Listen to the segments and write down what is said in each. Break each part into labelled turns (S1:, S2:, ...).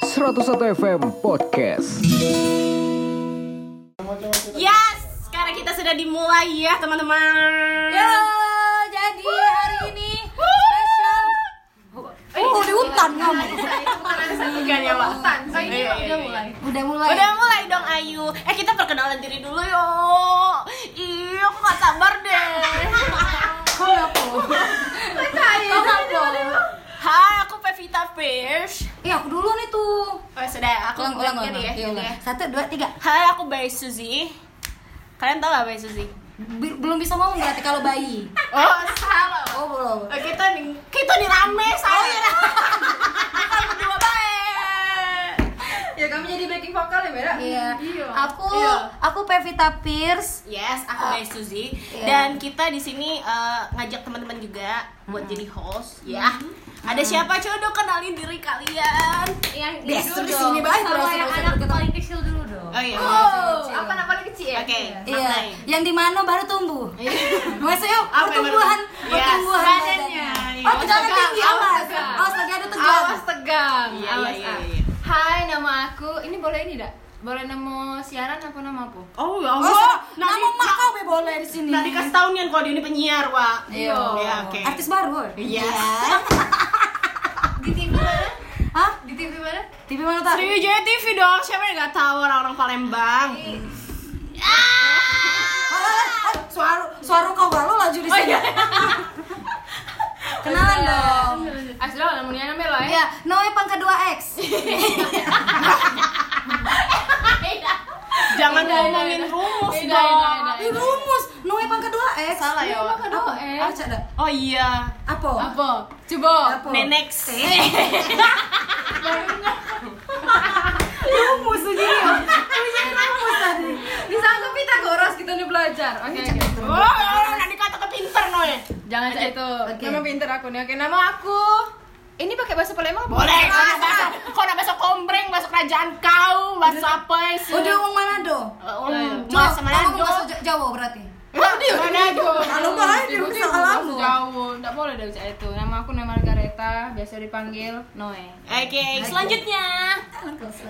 S1: 101 FM Podcast.
S2: Yes, sekarang kita sudah dimulai ya teman-teman.
S3: Yo, jadi hari ini spesial. Oh, di hutan kamu.
S2: Bukan ya Pak.
S4: Oh ini
S2: Iya, iya,
S4: udah
S2: iya.
S4: mulai.
S3: Udah mulai.
S2: Udah mulai dong Ayu. Eh kita perkenalan diri dulu yo. Iya, aku gak sabar deh.
S3: Kau apa? Kau apa?
S2: Hai, aku Pevita Fish.
S3: Iya, aku dulu nih tuh.
S2: Oh, sudah ya, aku
S3: Ulang, ulang,
S2: ganti ya,
S3: ulang. Iya,
S2: ganti
S3: ulang.
S2: ya.
S3: Satu, dua, tiga.
S2: Hai, aku Bay Suzy. Kalian tahu gak Bay Suzy?
S3: Bi- Belum bisa ngomong berarti kalau bayi.
S2: Oh, salah.
S3: Oh, belum.
S2: Oh, kita nih, kita nih rame saya. Oh, iya. Kita berdua baik.
S4: Ya kamu jadi backing vokal ya, Bera?
S3: Iya. Aku
S4: Iya.
S3: aku Pevita Pierce.
S2: Yes, aku Bay Suzy
S3: iya.
S2: dan kita di sini eh, ngajak teman-teman juga buat jadi host ya. Ada siapa? Coba dong kenalin diri kalian.
S4: Yang
S3: Biasa
S4: dulu
S3: di
S4: dong.
S3: sini banget,
S4: Sama
S3: berasa-
S4: yang
S3: berasa
S4: anak
S3: deket
S4: paling kecil dulu dong.
S2: Oh iya.
S4: Oh, apa namanya kecil ya?
S2: Oke.
S4: Iya.
S3: Iya,
S2: Maknai.
S3: yang di mana baru tumbuh. Maksudnya
S2: Apa yang baru
S3: pertumbuhan,
S2: tumbuh? Iya,
S3: pertumbuhan
S2: badannya. Iya.
S3: Oh, tegangan
S4: Tegang,
S3: tinggi
S4: awas
S3: awas.
S4: tegang.
S3: Awas lagi ada tegang.
S4: Awas tegang.
S2: Iya,
S4: Awas.
S2: iya,
S4: ah.
S2: iya, iya.
S4: Hai, nama aku. Ini boleh ini enggak? Boleh nama siaran apa nama aku?
S2: Oh ya
S3: Oh,
S2: Allah. Nah,
S3: nama mak kau be boleh di sini.
S2: nah dikasih tahu nih kalau dia ini penyiar, Wak.
S3: Iya.
S2: Iya, oke.
S3: Artis baru.
S2: Iya.
S4: Di TV mana?
S3: Hah?
S4: Di TV mana?
S3: TV mana Eh, tak?
S2: Sriwijaya TV dong, siapa yang gak tahu orang-orang Palembang?
S3: eh, Suara suara kau galau laju di
S4: Oh, iya.
S3: sini. Kenalan dong.
S2: Iya.
S4: Asli lah, namanya nama lo ya.
S3: Ya, Noe Pangka 2X.
S4: Iya,
S2: Jangan
S4: Iya, iya,
S2: ngomongin
S4: iya.
S2: rumus
S4: Iya, iya,
S2: dong.
S4: iya, iya.
S3: Ih, rumus. Noe Pangka 2X.
S2: Salah ya,
S3: Noe
S2: Wak.
S3: Pangka 2X. Apa cak dah?
S2: Oh iya.
S3: Apa?
S4: Apa? Coba.
S3: Apa?
S2: Nenek.
S3: Rumus sendiri.
S4: Bisa aku Pitagoras
S3: gitu?
S4: kita nih belajar. Oke. oke.
S2: Oh, nanti kata kepinter noe.
S4: Jangan cak itu.
S3: Oke.
S4: Nama pinter aku nih. Oke, nama aku. Ini pakai bahasa Palembang apa?
S2: Boleh, kau nak masuk, kau nak masuk kombreng, masuk kerajaan kau, masuk apa sih?
S3: Oh, dia orang Manado.
S2: Um,
S3: Jawa.
S2: masa mana
S3: Kamu
S2: do?
S3: masuk Ja- Jawa berarti.
S4: Mana aku?
S3: Kalau bahaya, bisa kalamu.
S4: Jauh, enggak boleh dari cak itu. Nama aku Noe Margareta, biasa dipanggil Noe.
S2: Oke, selanjutnya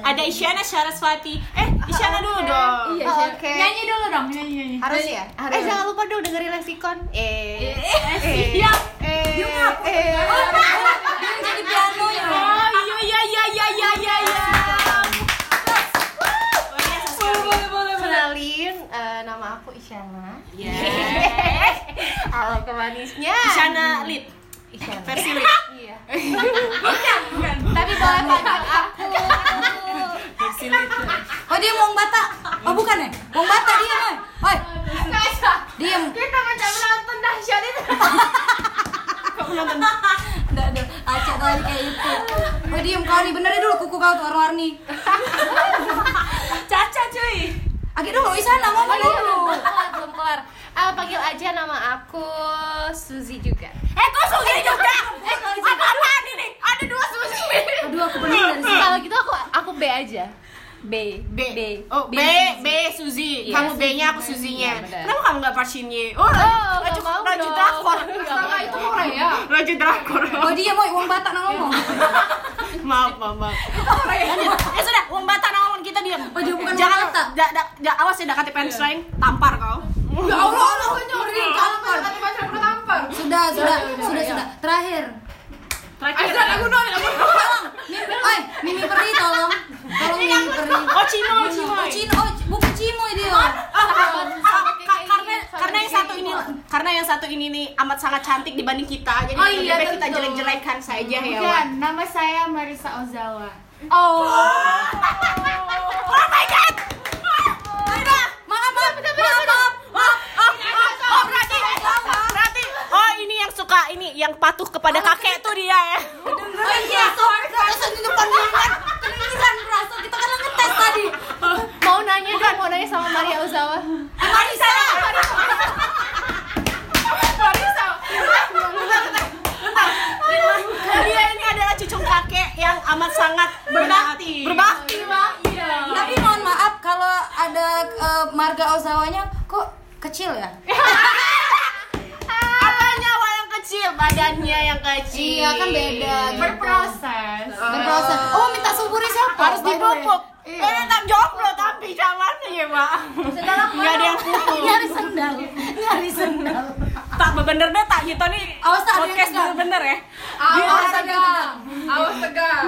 S2: ada Isyana Saraswati. Eh, Isyana dulu dong. Ah,
S4: Iya,
S3: Oh,
S4: siap.
S3: oke.
S4: Nyanyi dulu dong, nyanyi nyanyi.
S2: Harus ya?
S4: harus.
S2: Eh, jangan lupa dong dengerin leksikon. Eh.
S4: Iya. Eh.
S3: Dia ngapain? Dia jadi piano ya.
S2: Oh, iya iya iya iya iya iya. iya. Oh, iya, Saraswati.
S4: boleh,
S5: Kenalin, eh, nama aku Isyana.
S2: Iya. Yes.
S5: Halo kemanisnya.
S2: Isyana Lid.
S5: Isyana.
S2: Versi Lid.
S5: Iya.
S4: Tapi boleh panggil
S2: Versi Lid.
S3: Oh dia mau bata. Oh bukan ya? Mau bata dia mah. Oi, diam.
S4: Kita macam nonton dahsyat itu.
S2: Kok nonton?
S3: Enggak ada. Acak lagi kayak itu. Oh diam kau nih benerin dulu kuku kau tuh warna-warni.
S2: Caca cuy.
S3: Agak dulu Isana ngomong dulu.
S5: Oh, iya. Belum kelar, belum kelar. Eh, panggil aja nama aku Suzy juga.
S2: Eh, kok Suzy juga? Eh, apa apaan ini? Ada dua Suzy.
S3: Aduh aku bener dari sini.
S5: Kalau gitu aku aku B aja. B.
S2: B. Oh, B, B, Suzy.
S5: Iya,
S2: kamu
S5: Suzy.
S2: B-nya, aku Suzy-nya.
S5: Iya, benar.
S2: Kenapa kamu nggak Parsin Y? Oh,
S5: Oh,
S2: raju,
S5: nggak mau
S2: raju
S5: dong.
S2: drakor.
S5: Nggak mau
S2: itu
S5: dong.
S2: orang ya. Raju drakor.
S3: Oh diam oi, uang bata nak ngomong.
S2: maaf, maaf, maaf.
S4: Oh, iya.
S2: Lanjut. Ya sudah, Wong Bata naon kita diam.
S3: Oh, dia bukan
S2: Jangan,
S3: Wong Bata.
S2: da- da- da- awas ya dekati pants lain, tampar kau.
S4: Iya. Ya Allah, Allah nyorin. Kalau kata pacar aku tampar.
S3: Sudah,
S5: Iya,
S3: sudah, sudah, sudah. Terakhir.
S2: Terakhir.
S4: Ajar aku Noe, aku Noe.
S3: Oi, Mimi Peri tolong. Tolong Mimi Peri.
S2: Oh, Cimo, Cimo.
S3: Oh Cino, oh bukan Cimo dia.
S2: Ah, ah, ah, ka-
S4: Oh, kayak gini,
S2: karena
S4: sahabat
S2: karena yang
S4: kayak
S2: satu
S4: gini.
S2: ini karena yang satu ini nih amat sangat cantik dibanding kita jadi
S4: Oh,
S2: lebih
S4: iya,
S2: baik kita
S4: tentu.
S2: jelek-jelekan saja ya Wan.
S4: nama saya Marisa Ozawa.
S3: Oh.
S2: oh my god tidak
S3: Maaf, maaf, maaf, maaf.
S2: Oh, oh, oh, oh, berarti, berarti, oh ini yang suka ini yang patuh kepada kakek tuh dia ya.
S3: Oh iya, sorry, sorry, di depan gue kan. Kedengeran berasa kita kan ngetes tadi.
S5: Mau nanya dong, mau nanya sama Maria Ozawa.
S3: Marisa.
S2: Dia ini adalah cucu kakek yang amat sangat berbakti. Berbakti, Mbak.
S3: Tapi mohon maaf kalau ada eh, marga Ozawanya kok kecil ya?
S2: Apanya awal yang kecil, badannya yang kecil.
S3: Iya kan beda.
S4: Berproses.
S3: Berproses. Oh minta suburi siapa?
S2: ditutup. Eh, tetap jomblo tapi jalannya ya, Pak. Enggak ada yang tutup.
S3: nyari sendal nyari sendal
S2: Tak bener deh tak gitu nih.
S3: Awas, tak, ada yang
S2: podcast
S3: tegang.
S2: bener-bener ya.
S4: Awas tegang. Awas tegang.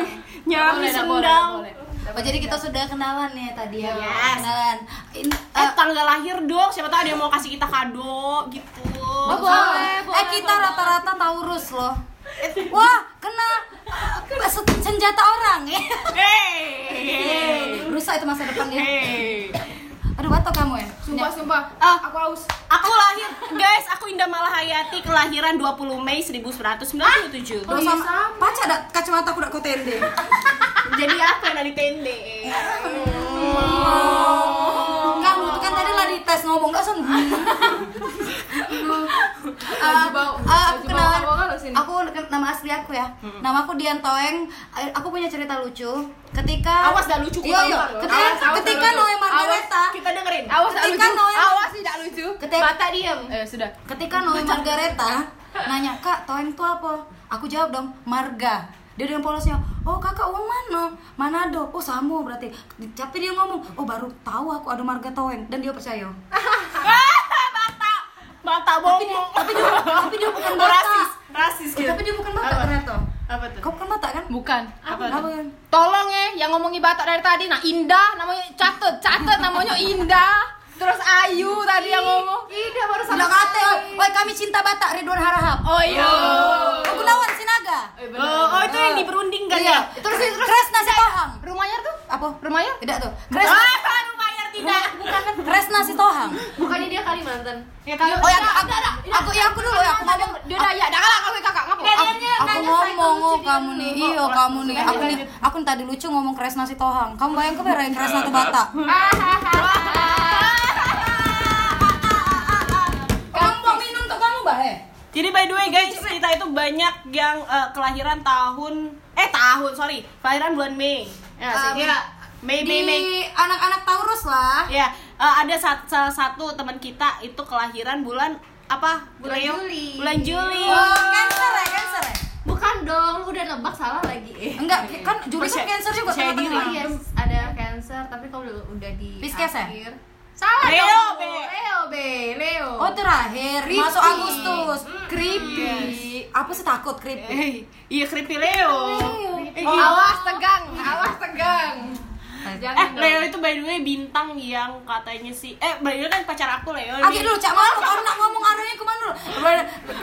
S2: Nyari
S4: Boleh, dah, boleh,
S2: sendal.
S4: boleh.
S3: oh jadi kita sudah kenalan nih tadi ya
S2: Yes.
S3: kenalan In-
S2: Eh,
S3: eh,
S2: tanggal lahir dong. Siapa tahu ada yang mau kasih kita kado gitu.
S3: Oh, boleh, boleh, eh kita rata-rata Taurus loh. Wah, kena eh, se- senjata orang ya.
S2: Hey.
S3: Rusak itu masa depan ya? dia.
S2: Hey.
S3: Aduh, batuk kamu ya.
S4: Sumpah, sumpah.
S2: Ah.
S4: Aku haus.
S2: Aku lahir, guys, aku Indah Malahayati kelahiran 20 Mei 1997.
S4: Oh, iya,
S3: Aduh, sama pacar ada kacamata aku udah kau tende.
S2: Jadi apa yang ada di tende?
S4: Oh.
S3: Enggak, itu kan tadi lah di tes ngomong enggak son.
S4: Ah, Baju bau.
S3: Ah, aku
S4: Baju bau.
S3: kenalan.
S4: Aku haus ini.
S3: Aku ken- nama asli aku ya.
S4: Hmm.
S3: Nama aku Dian Toeng. Eh, Aku punya cerita lucu. Ketika
S2: Awas dah lucu, aku
S3: Yo yo.
S2: tampar loh.
S3: Iya, Ketika,
S4: Awas, awas,
S3: ketika
S4: dah lucu.
S3: Noe Margareta.
S2: Kita dengerin.
S4: Awas tak
S3: Ketika
S4: lucu.
S3: Noel-
S4: Awas tidak lucu.
S3: Ketika-
S4: Mata diam. Eh sudah.
S3: Ketika Noe Margareta nanya, "Kak, toeng itu apa?" Aku jawab dong, "Marga." Dia dengan polosnya, "Oh, Kakak uang mana?" Manado. Oh, samo berarti. Tapi dia ngomong, "Oh, baru tahu aku ada marga toeng." Dan dia percaya.
S2: Mata bongong.
S3: Tapi dia, tapi dia bukan
S2: Oh,
S3: Batak.
S2: rasis, rasis
S3: Eh,
S2: gitu.
S3: Tapi dia bukan Batak
S2: Apa?
S3: ternyata.
S2: Apa tuh?
S3: Kau bukan Batak kan?
S4: Bukan.
S3: Apa? kan?
S4: Tolong ya, yang ngomongi Batak dari tadi. Nah, Indah namanya catet, catet namanya Indah. Terus Ayu tadi yang ngomong. Nah,
S5: Ida baru sama
S3: Bilang kate, "Woi, kami cinta Batak Ridwan Harahap."
S4: Oh iya.
S3: Aku lawan Sinaga.
S2: Oh, oh, itu yang diberunding kan
S3: Iya.
S2: ya?
S3: Terus terus Kresna Sitohang.
S4: Rumahnya tuh?
S3: Apa?
S4: Rumahnya?
S3: Tidak tuh. Kresna
S2: Ah, baru bayar tidak.
S3: Kresna Sitohang.
S5: bukannya dia Kalimantan.
S2: Ya kalau
S3: Oh ya, aku, aku, ya aku dulu ya, aku ngomong
S4: Dia udah ya, dah kalah kalau kakak ngapa?
S3: aku ngomong oh kamu nih iyo kamu nih
S2: Lanjut,
S3: aku nih aku nih tadi lucu ngomong Kresna Sitohang kamu bayang ke yang Kresna tuh bata
S2: ah,
S3: kamu mau minum tuh kamu bah eh
S2: Jadi by the way guys, kita itu banyak yang eh, kelahiran tahun eh tahun sorry, kelahiran bulan Mei. Ya,
S3: Um,
S2: sih? Iya. Mei Mei Mei.
S3: di anak-anak Taurus lah
S2: Ya, eh, ada sat- salah satu teman kita itu kelahiran bulan apa? Bulan Juli. Bulan Juli.
S3: oh cancer ya cancer ya
S5: Bukan dong, lu udah nebak salah lagi. Eh.
S3: enggak kan Juli kan
S2: Percaya-
S3: cancer juga
S2: percaya
S3: tengah-tengah.
S2: diri.
S5: Yes, ada cancer tapi kamu udah, udah di
S3: Pisces ya?
S5: akhir. Salah
S2: Leo,
S5: dong.
S2: Be.
S5: Leo, Be. Leo.
S3: oh terakhir masuk Agustus creepy apa sih takut creepy
S2: Eh, iya creepy Leo. Eh,
S4: Oh,
S2: iya.
S4: awas tegang, awas tegang.
S2: Eh,
S4: Jangan
S2: Leo itu by the way bintang yang katanya sih eh by the way kan pacar aku Leo.
S3: Oke
S2: nih.
S3: dulu, Cak Malu, kamu nak ngomong arahnya kemana dulu?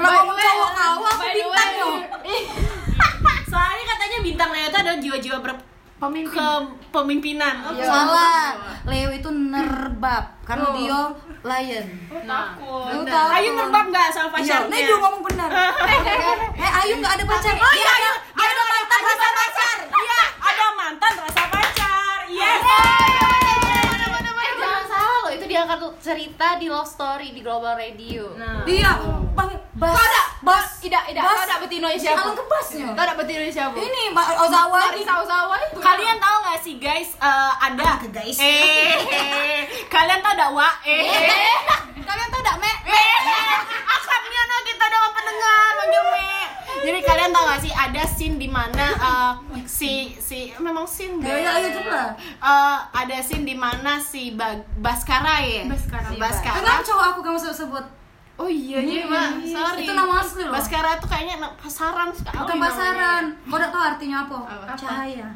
S3: Kalau ngomong cowok kau, aku bintang yo.
S2: Soalnya katanya bintang Leo itu ada jiwa-jiwa ber- kepemimpinan.
S3: Salah. Leo itu nerbab karena dia lion.
S4: Nah.
S2: Takut.
S3: Lu
S2: Bener.
S3: tahu.
S2: Ayu nerbang nggak sama pacarnya?
S3: Iya, nih dia ngomong benar. Eh, Ayu nggak ada pacar.
S2: Oh
S3: Dia
S2: iya,
S3: ada,
S2: Ayu.
S3: dia ada mantan rasa pacar.
S2: Iya, ada mantan rasa pacar. Iya. Yes.
S5: Eh, jangan salah loh, itu diangkat cerita di Love Story di Global Radio.
S4: Nah.
S3: Dia bang Iya. bas.
S4: Kau ada?
S3: bas.
S4: Tidak, tidak.
S3: Bas.
S4: Kau ada betino siapa?
S3: Alang kebasnya.
S4: Kau ada betino siapa?
S3: Ini Mbak Ozawa.
S4: Dari sawa-sawa itu.
S2: Kalian tahu nggak sih guys, eh, ada
S3: Ke guys.
S2: eh, eh, kalian tahu ada wa eh, eh,
S3: Kalian tahu enggak, Mek?
S2: akamnya no kita ada pendengar panggil me. Jadi kalian tahu gak sih ada scene di mana eh, si si memang scene
S3: Ya, ya, ya, coba.
S2: Eh, ada scene di mana si Bag- Baskara ya?
S4: Baskara.
S2: Si Baskara.
S3: Kenapa cowok aku kamu sebut?
S2: Oh iya iya, Mak. Sorry.
S3: Itu nama asli loh.
S2: Baskara tuh kayaknya na- pasaran sekali.
S3: Bukan
S2: iya, namanya.
S3: pasaran. Kau nggak tahu artinya apa?
S2: Apa?
S3: Cahaya.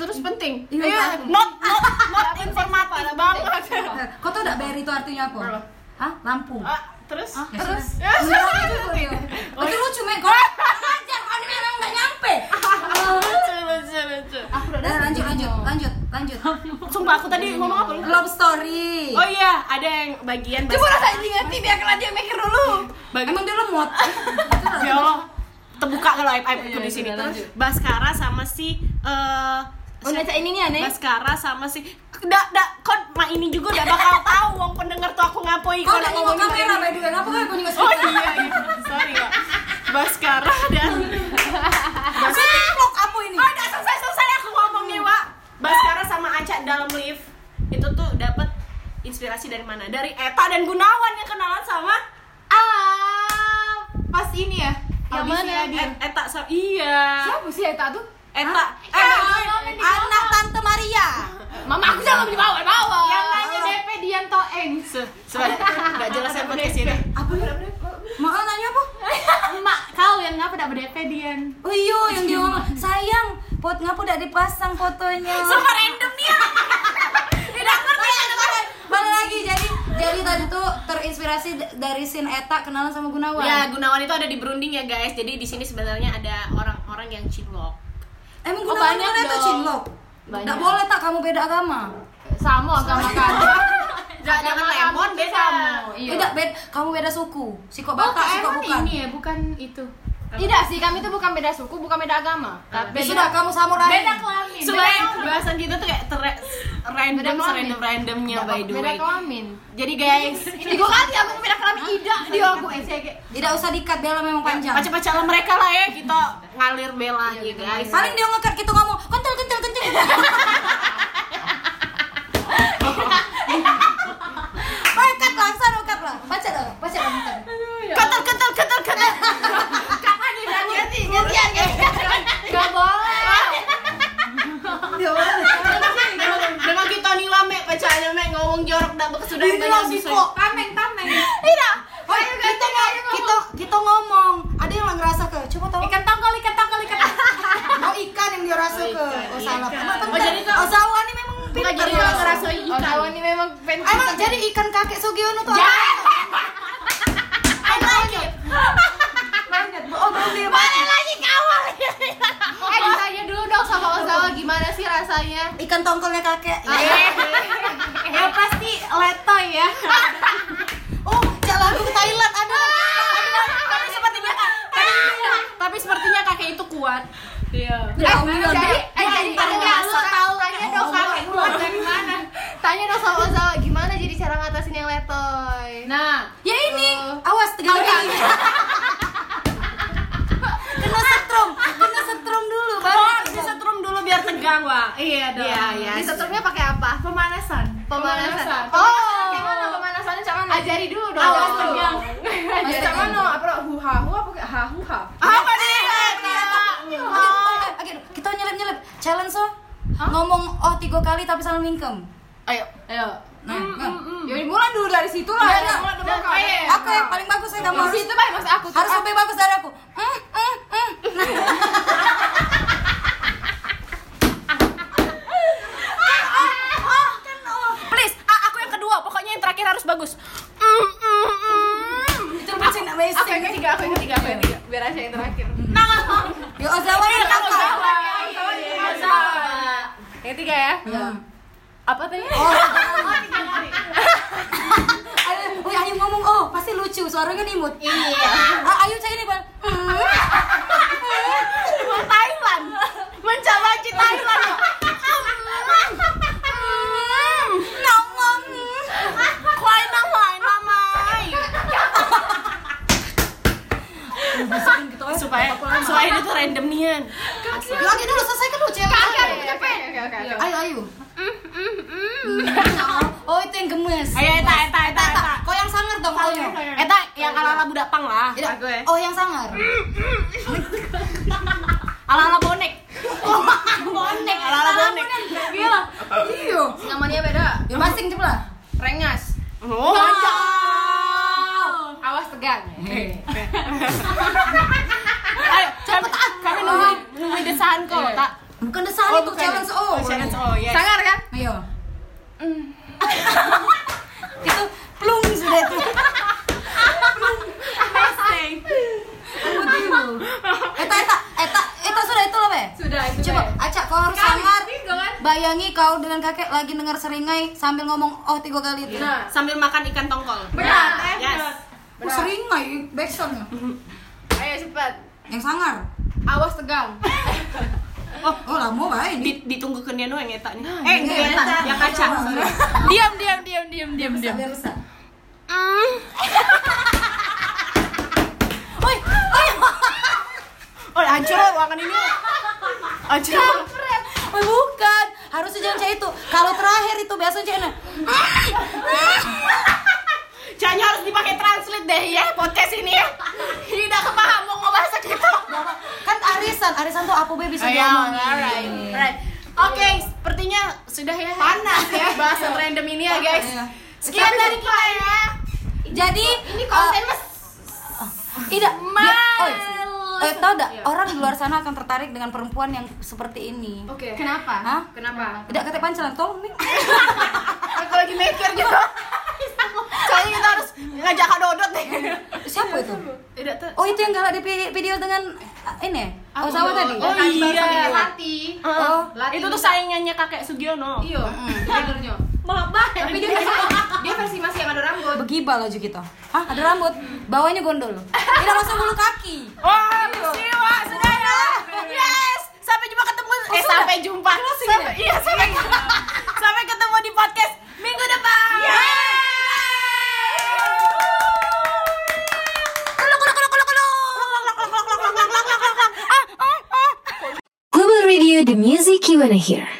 S2: Terus penting.
S3: Iya,
S2: Iya,
S3: penting.
S2: not not not informatif banget. iya.
S3: Eh, Kau tahu enggak berry itu artinya apa?
S4: Apa?
S3: Hah? Lampu.
S2: Ah, terus
S3: Ya,
S2: terus
S3: sudah.
S2: ya,
S3: Enggak
S2: sudah.
S3: gitu, Rio. Itu lucu, men. Kau ajar kau ini memang enggak nyampe.
S2: Lucu, lucu, lucu.
S3: Udah, Eh, lanjut, lanjut, lanjut, lanjut.
S2: Sumpah aku tadi ngomong apa lu?
S3: Love story.
S2: Oh iya, ada yang bagian
S4: Coba
S2: Baskara.
S4: rasa ingat-ingat biarkan dia mikir dulu.
S2: Bagi-
S3: Emang dia lemot. Itu lah.
S2: ya Allah terbuka kalau aib aib aku
S4: Iya,
S2: di sini
S4: sudah,
S2: terus
S4: lanjut.
S2: Baskara sama si eh
S4: Udah cak ini nih aneh.
S2: Baskara sama si dak dak kon mak ini juga udah bakal tahu wong pendengar tuh aku ngapoi kalau
S3: Kau enggak ngomong
S2: ngomongin
S3: kamera, by the way. Kenapa kau nyengis?
S2: iya, Oh iya, iya. sorry ya. Baskara dan
S3: Sini vlog kamu ini.
S2: Oh, udah selesai selesai aku ngomongnya, Wak. Baskara sama Aca dalam lift itu tuh dapat inspirasi dari mana? Dari Eta dan Gunawan yang kenalan sama
S4: Ah, pas ini ya.
S2: Yang mana? Eta sama iya.
S4: Siapa sih Eh, Eta tuh?
S2: Eta. Eh,
S3: Anak Tante Maria.
S2: Udah sih deh.
S3: Apa lu? Maaf nanya apa?
S5: Emak, kau yang ngapa dak berdep Dian?
S3: Oh iya yang dia ngomong sayang pot ngapa udah dipasang fotonya.
S2: Sama random nih ya. Tidak ngerti ya teman.
S3: Balik lagi jadi jadi tadi tuh terinspirasi d- dari sin Eta kenalan sama Gunawan.
S2: Ya, Gunawan itu ada di Berunding ya, guys. Jadi di sini sebenarnya ada orang-orang yang cinlok.
S3: Emang
S5: Oh,
S3: Gunawan
S5: banyak
S3: mana Eta
S5: dong.
S3: cinlok?
S5: Banyak.
S3: Nggak boleh tak kamu beda agama.
S4: Sama agama kami.
S2: Jangan jangan lemon beda.
S3: Beda beda kamu beda suku. Siko
S5: Iya. Oh,
S3: Batak,
S5: Kak
S3: Siko
S5: Eman
S3: bukan.
S5: ini ya, bukan itu.
S4: Tidak sih, kami itu bukan beda suku, bukan beda agama. Tapi
S3: Ya sudah kamu samurai.
S5: Beda kelamin.
S2: Sebenarnya bahasan kita tuh kayak ter
S4: Beda
S2: random,
S4: kelamin.
S2: random randomnya by the
S4: beda
S2: way.
S4: kelamin.
S2: Jadi guys,
S4: Ini gue kan yang beda kelamin tidak dia aku SG.
S3: Tidak usah dikat bela memang
S5: Ya,
S3: panjang.
S2: pacar-pacar mereka lah ya kita ngalir bela gitu guys.
S3: Paling dia ngekat kita ngomong kental kental kental. Pakai kat lah, sana kat lah. Baca dong, baca dong. kat.
S2: Kental kental kental kental.
S4: Ganti, gantian, gantian. Gak boleh.
S2: Dengan kita nila mek pacarnya mek ngomong jorok dak kesudah
S3: Itu lah Siko.
S5: Tameng, tameng.
S2: Iya.
S3: Tidak. Oh, kita mau kita kita ngomong. Ada yang nggak ngerasa ke? Coba tahu.
S5: Ikan tongkol, ikan tongkol, ikan tongkol.
S3: Oh ikan yang dia rasa ke? Oh salah. Emang
S2: Oh, jadi
S3: bener.
S2: tuh-
S3: Oh Zawa ini memang
S2: Bukan
S3: pintar.
S2: jadi
S3: ya.
S2: kalau ngerasa
S4: Oh,
S2: ikan.
S4: kawan ini memang fans.
S3: Emang jadi ikan Ya. kakek Sugiono tuh. apa?
S2: I like it.
S3: Oh belum dia. Mana lagi kawan?
S4: Eh, ditanya dulu dong sama Ozawa gimana sih rasanya?
S3: Ikan tongkolnya kakek.
S2: Eh,
S5: Ya pasti letoy ya.
S3: Oh jalan ke Thailand ada.
S2: Tapi sepertinya tapi, tapi sepertinya kakek itu kuat. Iya.
S3: Ya Allah.
S4: Jadi,
S3: dia-
S4: eh, jadi enggak lu tahu tanya dong sama
S5: Gimana?
S4: Tanya dong sama Ozawa gimana jadi cara ngatasin yang letoy.
S5: Nah,
S3: Ya ini, awas tegang kaki. kena setrum, kena setrum dulu baru.
S2: Oh, harus disetrum dulu biar tegang, Wah.
S5: iya dong.
S4: ya,
S2: Iya, iya.
S4: Disetrumnya pakai apa?
S5: Pemanasan.
S4: Pemanasan.
S5: Oh,
S4: gimana pemanasannya cara mana? Ajari dulu dong.
S5: Awas tegang.
S4: Ajari
S3: Awas tegang.
S4: dulu. Apa huha huha apa ha huha?
S2: Apa nih? Iya,
S3: Oke, kita nyelip nyelip. Challenge so, ngomong oh tiga kali tapi salah mingkem.
S4: Ayo, ayo.
S3: Nah, nah.
S4: Ya mulai dulu dari situ lah.
S3: Iya,
S4: Ya,
S3: iya.
S4: mulai dulu.
S3: aku yang paling bagus ya kamu
S4: Dari
S3: harus
S4: situ baik mas aku tuh.
S3: harus lebih bagus dari aku. Hmm, hmm, hmm. Nah,
S2: Oh, kan, Please, ah, aku yang kedua. Pokoknya yang terakhir harus bagus. Mm, mm, mm.
S3: cermin amazing.
S4: Aku yang ketiga, aku yang ketiga, aku yang ketiga. Biar aja yang terakhir.
S3: Yo Ozawa ya kakak.
S4: Yang ketiga ya.
S3: Ya.
S4: Apa tadi?
S3: Oh, Ayo, wih, Ayu ngomong, oh pasti lucu, suaranya imut. Iya. Ah, Ayu cari nih bang. Hmm.
S2: Thailand. Mencoba di Thailand.
S3: mm,
S2: Kuai nang lai namai. Supaya supaya itu random nian.
S3: Lagi dulu selesai kan lu cewek.
S4: Oke, oke, oke, oke.
S3: Ayo ayo. Mm, Oh itu yang gemes.
S2: Ayo eta eta eta eta.
S3: Kau yang sangar dong ya. kau.
S2: Eta yang ala-ala budak pang lah. ya.
S3: Oh yang sangar.
S2: Ala-ala bonek. Bonek. Ala-ala bonek.
S3: Gila. Iyo.
S4: Namanya beda.
S3: Yo masing cepelah.
S4: Rengas.
S2: Oh,
S4: Awas tegang. Eh.
S2: Ayo, cepet ah. Kami nunggu nunggu desahan kok,
S4: Iya.
S2: tak.
S3: Bukan desahan itu challenge oh.
S2: challenge. Oh, yes.
S4: Sangar kan?
S3: Ayo. Mm. itu plung sudah itu. Plung. Amazing. Eta eta eta eta sudah itu loh be.
S4: Sudah itu.
S3: Coba,
S4: Be.
S3: Aca, kau harus sangar.
S4: kan?
S3: Bayangi kau dengan kakek lagi dengar seringai sambil ngomong oh tiga kali itu.
S4: Nah,
S2: Sambil makan ikan tongkol.
S4: berat. eh,
S2: Yes.
S4: berat.
S3: Oh, seringai, backsound
S4: Ayo cepat.
S3: Yang sangar.
S4: Awas tegang.
S3: Oh, lama baik.
S2: Di, ditunggu ke Niano yang eta nih. Eh,
S3: ini
S2: yang
S3: eta.
S2: eta, yang kaca.
S4: Diam, diam, diam, diam, diam, diam.
S3: Biar rusak.
S2: Oh, hancur lah ruangan ini. Hancur.
S3: Oh, bukan. Harusnya jangan kayak itu. Kalau terakhir itu biasanya jangan.
S2: Jangan harus dipakai translate deh ya podcast ini ya. Tidak kepaham mau ngebahas gitu.
S3: Kan arisan, arisan tuh apa be bisa
S2: Iya,
S3: diomongin.
S2: alright. Alright. Oke, sepertinya sudah ya panas ya bahasan random ini ya guys.
S3: Iya.
S2: Sekian dari kita ya. Eh,
S3: Jadi eh,
S5: Ini konten mas
S3: Ida,
S5: Mal-
S3: eh, tau gak? Orang di luar sana akan tertarik dengan perempuan yang seperti ini.
S2: Oke.
S5: Kenapa?
S3: Hah?
S2: Kenapa?
S3: Tidak kata pancelan, tolong nih.
S2: Aku lagi mikir juga. Kayaknya kita harus ngajak Kak Dodot nih.
S3: Siapa itu?
S2: Tidak tuh.
S3: Oh itu yang galak di vi- video dengan eh, ini,
S5: Aku
S3: Osawa
S5: dong.
S3: tadi.
S5: Oh, tadi baru
S2: iya.
S5: sampai ke Lati.
S3: Oh.
S5: Latin
S2: itu tuh
S5: juga.
S2: saingannya kakek Sugiono.
S5: Iya,
S4: Mm.
S5: benernya. Tapi dia versi dia versi masih yang ada rambut.
S3: Begibal loh kita. Hah, ada rambut. Bawahnya gondol. Tidak masuk bulu kaki.
S2: Wah, siwa sudah ya. Yes. Sampai jumpa ketemu eh
S3: sudah?
S2: sampai jumpa. Sampai, iya, sampai sampai ketemu di podcast minggu depan.
S6: We will review the music you wanna hear.